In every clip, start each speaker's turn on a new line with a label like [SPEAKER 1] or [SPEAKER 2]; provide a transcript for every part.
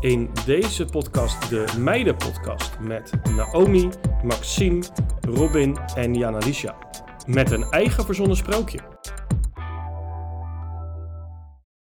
[SPEAKER 1] In deze podcast de Meidenpodcast met Naomi, Maxime, Robin en Jana-Licia. Met een eigen verzonnen sprookje.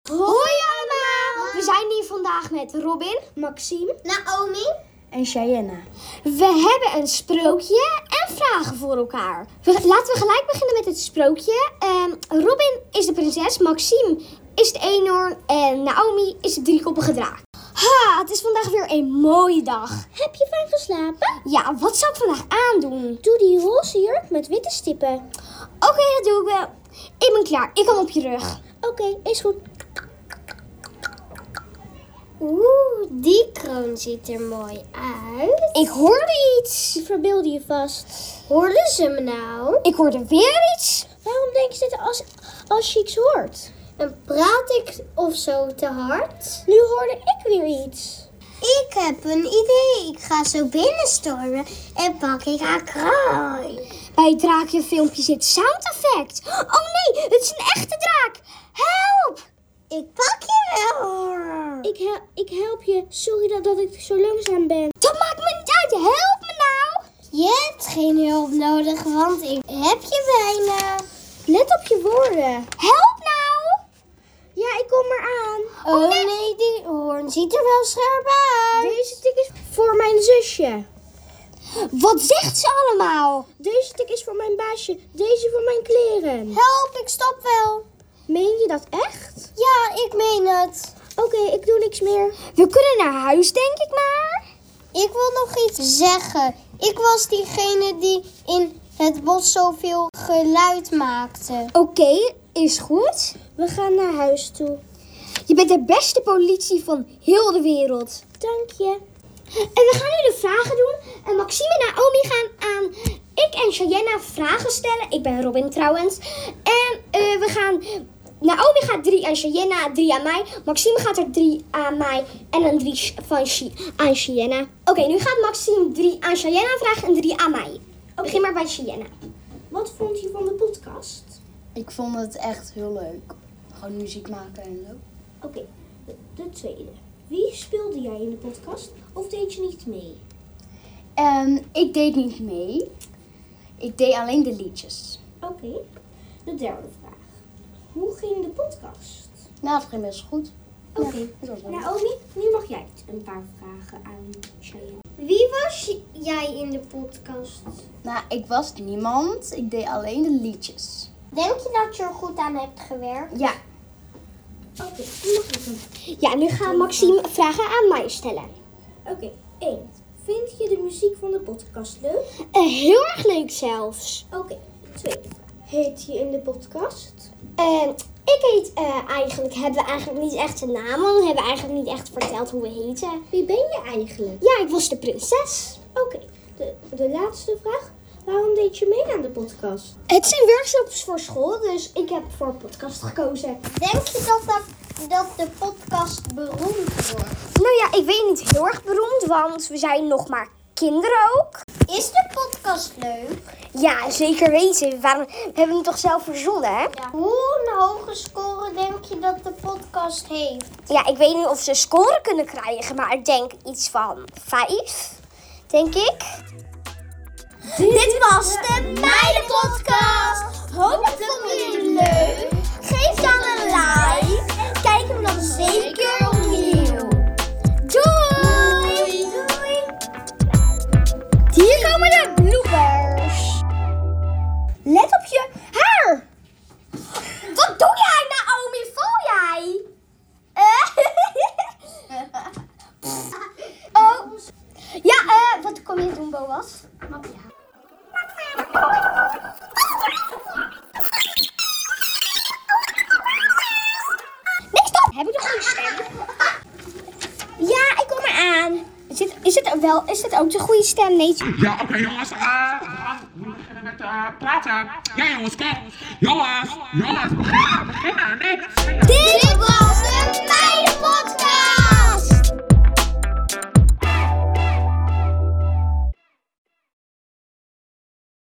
[SPEAKER 2] Hoi allemaal! We zijn hier vandaag met Robin, Maxime, Naomi en Cheyenne. We hebben een sprookje en vragen voor elkaar. We- laten we gelijk beginnen met het sprookje. Ehm, Robin is de prinses, Maxime is de eenhoorn en Naomi is de driekoppige draak. Ha, het is vandaag weer een mooie dag. Heb je fijn geslapen? Ja, wat zou ik vandaag aandoen? Doe die roze jurk met witte stippen. Oké, dat doe ik wel. Ik ben klaar, ik kan op je rug. Oké, is goed. Oeh, die kroon ziet er mooi uit. Ik hoorde iets. Je verbeelde je vast. Hoorden ze me nou? Ik hoorde weer iets. Waarom denk je dit als, als je iets hoort? En praat ik of zo te hard? Nu hoorde ik weer iets. Ik heb een idee. Ik ga zo binnenstormen en pak ik haar kraai. Bij het draakjefilmpje zit sound effect. Oh nee, het is een echte draak. Help! Ik pak je wel.
[SPEAKER 3] Ik, hel- ik help je. Sorry dat, dat ik zo langzaam ben.
[SPEAKER 2] Dat maakt me niet uit. Help me nou. Je hebt geen hulp nodig, want ik heb je bijna. Let op je woorden. Help nou.
[SPEAKER 3] Ja, ik kom eraan.
[SPEAKER 2] Oh, nee. die hoorn ziet er wel scherp uit.
[SPEAKER 3] Deze tik is voor mijn zusje.
[SPEAKER 2] Wat zegt ze allemaal?
[SPEAKER 3] Deze tik is voor mijn baasje. Deze voor mijn kleren.
[SPEAKER 2] Help, ik stop wel.
[SPEAKER 3] Meen je dat echt?
[SPEAKER 2] Ja, ik meen het.
[SPEAKER 3] Oké, ik doe niks meer.
[SPEAKER 2] We kunnen naar huis, denk ik maar. Ik wil nog iets zeggen. Ik was diegene die in het bos zoveel geluid maakte. Oké, is goed.
[SPEAKER 3] We gaan naar huis toe.
[SPEAKER 2] Je bent de beste politie van heel de wereld.
[SPEAKER 3] Dank je.
[SPEAKER 2] En we gaan nu de vragen doen. En Maxime en Naomi gaan aan ik en Cheyenne vragen stellen. Ik ben Robin trouwens. En eh, we gaan... Naomi gaat drie aan Cheyenne, drie aan mij. Maxime gaat er drie aan mij en een drie sh- van Chi- aan Cheyenne. Oké, nu gaat Maxime drie aan Cheyenne vragen en drie aan mij. Begin maar bij Cheyenne.
[SPEAKER 3] Wat vond je van de podcast?
[SPEAKER 4] Ik vond het echt heel leuk. Gewoon muziek maken en zo.
[SPEAKER 3] Oké, de, de tweede. Wie speelde jij in de podcast of deed je niet mee?
[SPEAKER 4] En Ehm, ik deed niet mee. Ik deed alleen de liedjes.
[SPEAKER 3] Oké. De derde vraag. Hoe ging de podcast?
[SPEAKER 4] Nou, dat ging best goed.
[SPEAKER 3] Oké.
[SPEAKER 4] Dat was wel
[SPEAKER 3] Naomi, nu mag jij het een paar vragen aan Cheyenne.
[SPEAKER 2] Wie was jij in de podcast?
[SPEAKER 4] Nou, ik was niemand. Ik deed alleen de liedjes.
[SPEAKER 2] Denk je dat je er goed aan hebt gewerkt?
[SPEAKER 4] Ja.
[SPEAKER 3] Oké, nu mag ik een
[SPEAKER 2] Ja, nu gaan Maxime vragen aan mij stellen.
[SPEAKER 3] Oké, één. Vind je de muziek van de podcast leuk?
[SPEAKER 2] Eh, heel erg leuk zelfs.
[SPEAKER 3] Oké, twee. Heet je in de podcast?
[SPEAKER 2] Eh, ik heet eh, eigenlijk, hebben we eigenlijk niet echt een naam, want we hebben eigenlijk niet echt verteld hoe we heten.
[SPEAKER 3] Wie ben je eigenlijk?
[SPEAKER 2] Ja, ik was de prinses.
[SPEAKER 3] Oké, de, de laatste vraag. Waarom deed je mee aan de podcast?
[SPEAKER 2] Het zijn workshops voor school, dus ik heb voor podcast gekozen.
[SPEAKER 3] Denk je dat, dat, de podcast beroemd wordt?
[SPEAKER 2] Nou ja, ik weet niet heel erg beroemd, want we zijn nog maar kinderen ook.
[SPEAKER 3] Is de podcast leuk?
[SPEAKER 2] Ja, zeker weten. Waarom we hebben hem toch zelf verzonnen, hè?
[SPEAKER 3] Hoe een hoge score denk je dat de podcast heeft?
[SPEAKER 2] Ja, ik weet niet of ze scoren kunnen krijgen, maar ik denk iets van vijf, denk ik. Dit was de Meidenpodcast. Hopelijk vonden jullie het leuk. Geef dan een like en kijk hem dan zeker opnieuw. Doei! Doei! Hier komen de bloopers. Let op je haar. Wat doe jij, Naomi? Voel jij? Eh? oh. Ja, eh, wat kom je doen, Boas? Nee, stop! Heb ik nog een stem? Ja, ik kom eraan. Is dit, is dit wel, is dit ook de goede stem? Nee.
[SPEAKER 5] Ja, oké jongens. Ah, ah, we beginnen met eh, praten. Ja jongens, kom. Jongens, jongens, beginnen, beginnen. Nee,
[SPEAKER 2] Dit was de Meidenpodcast!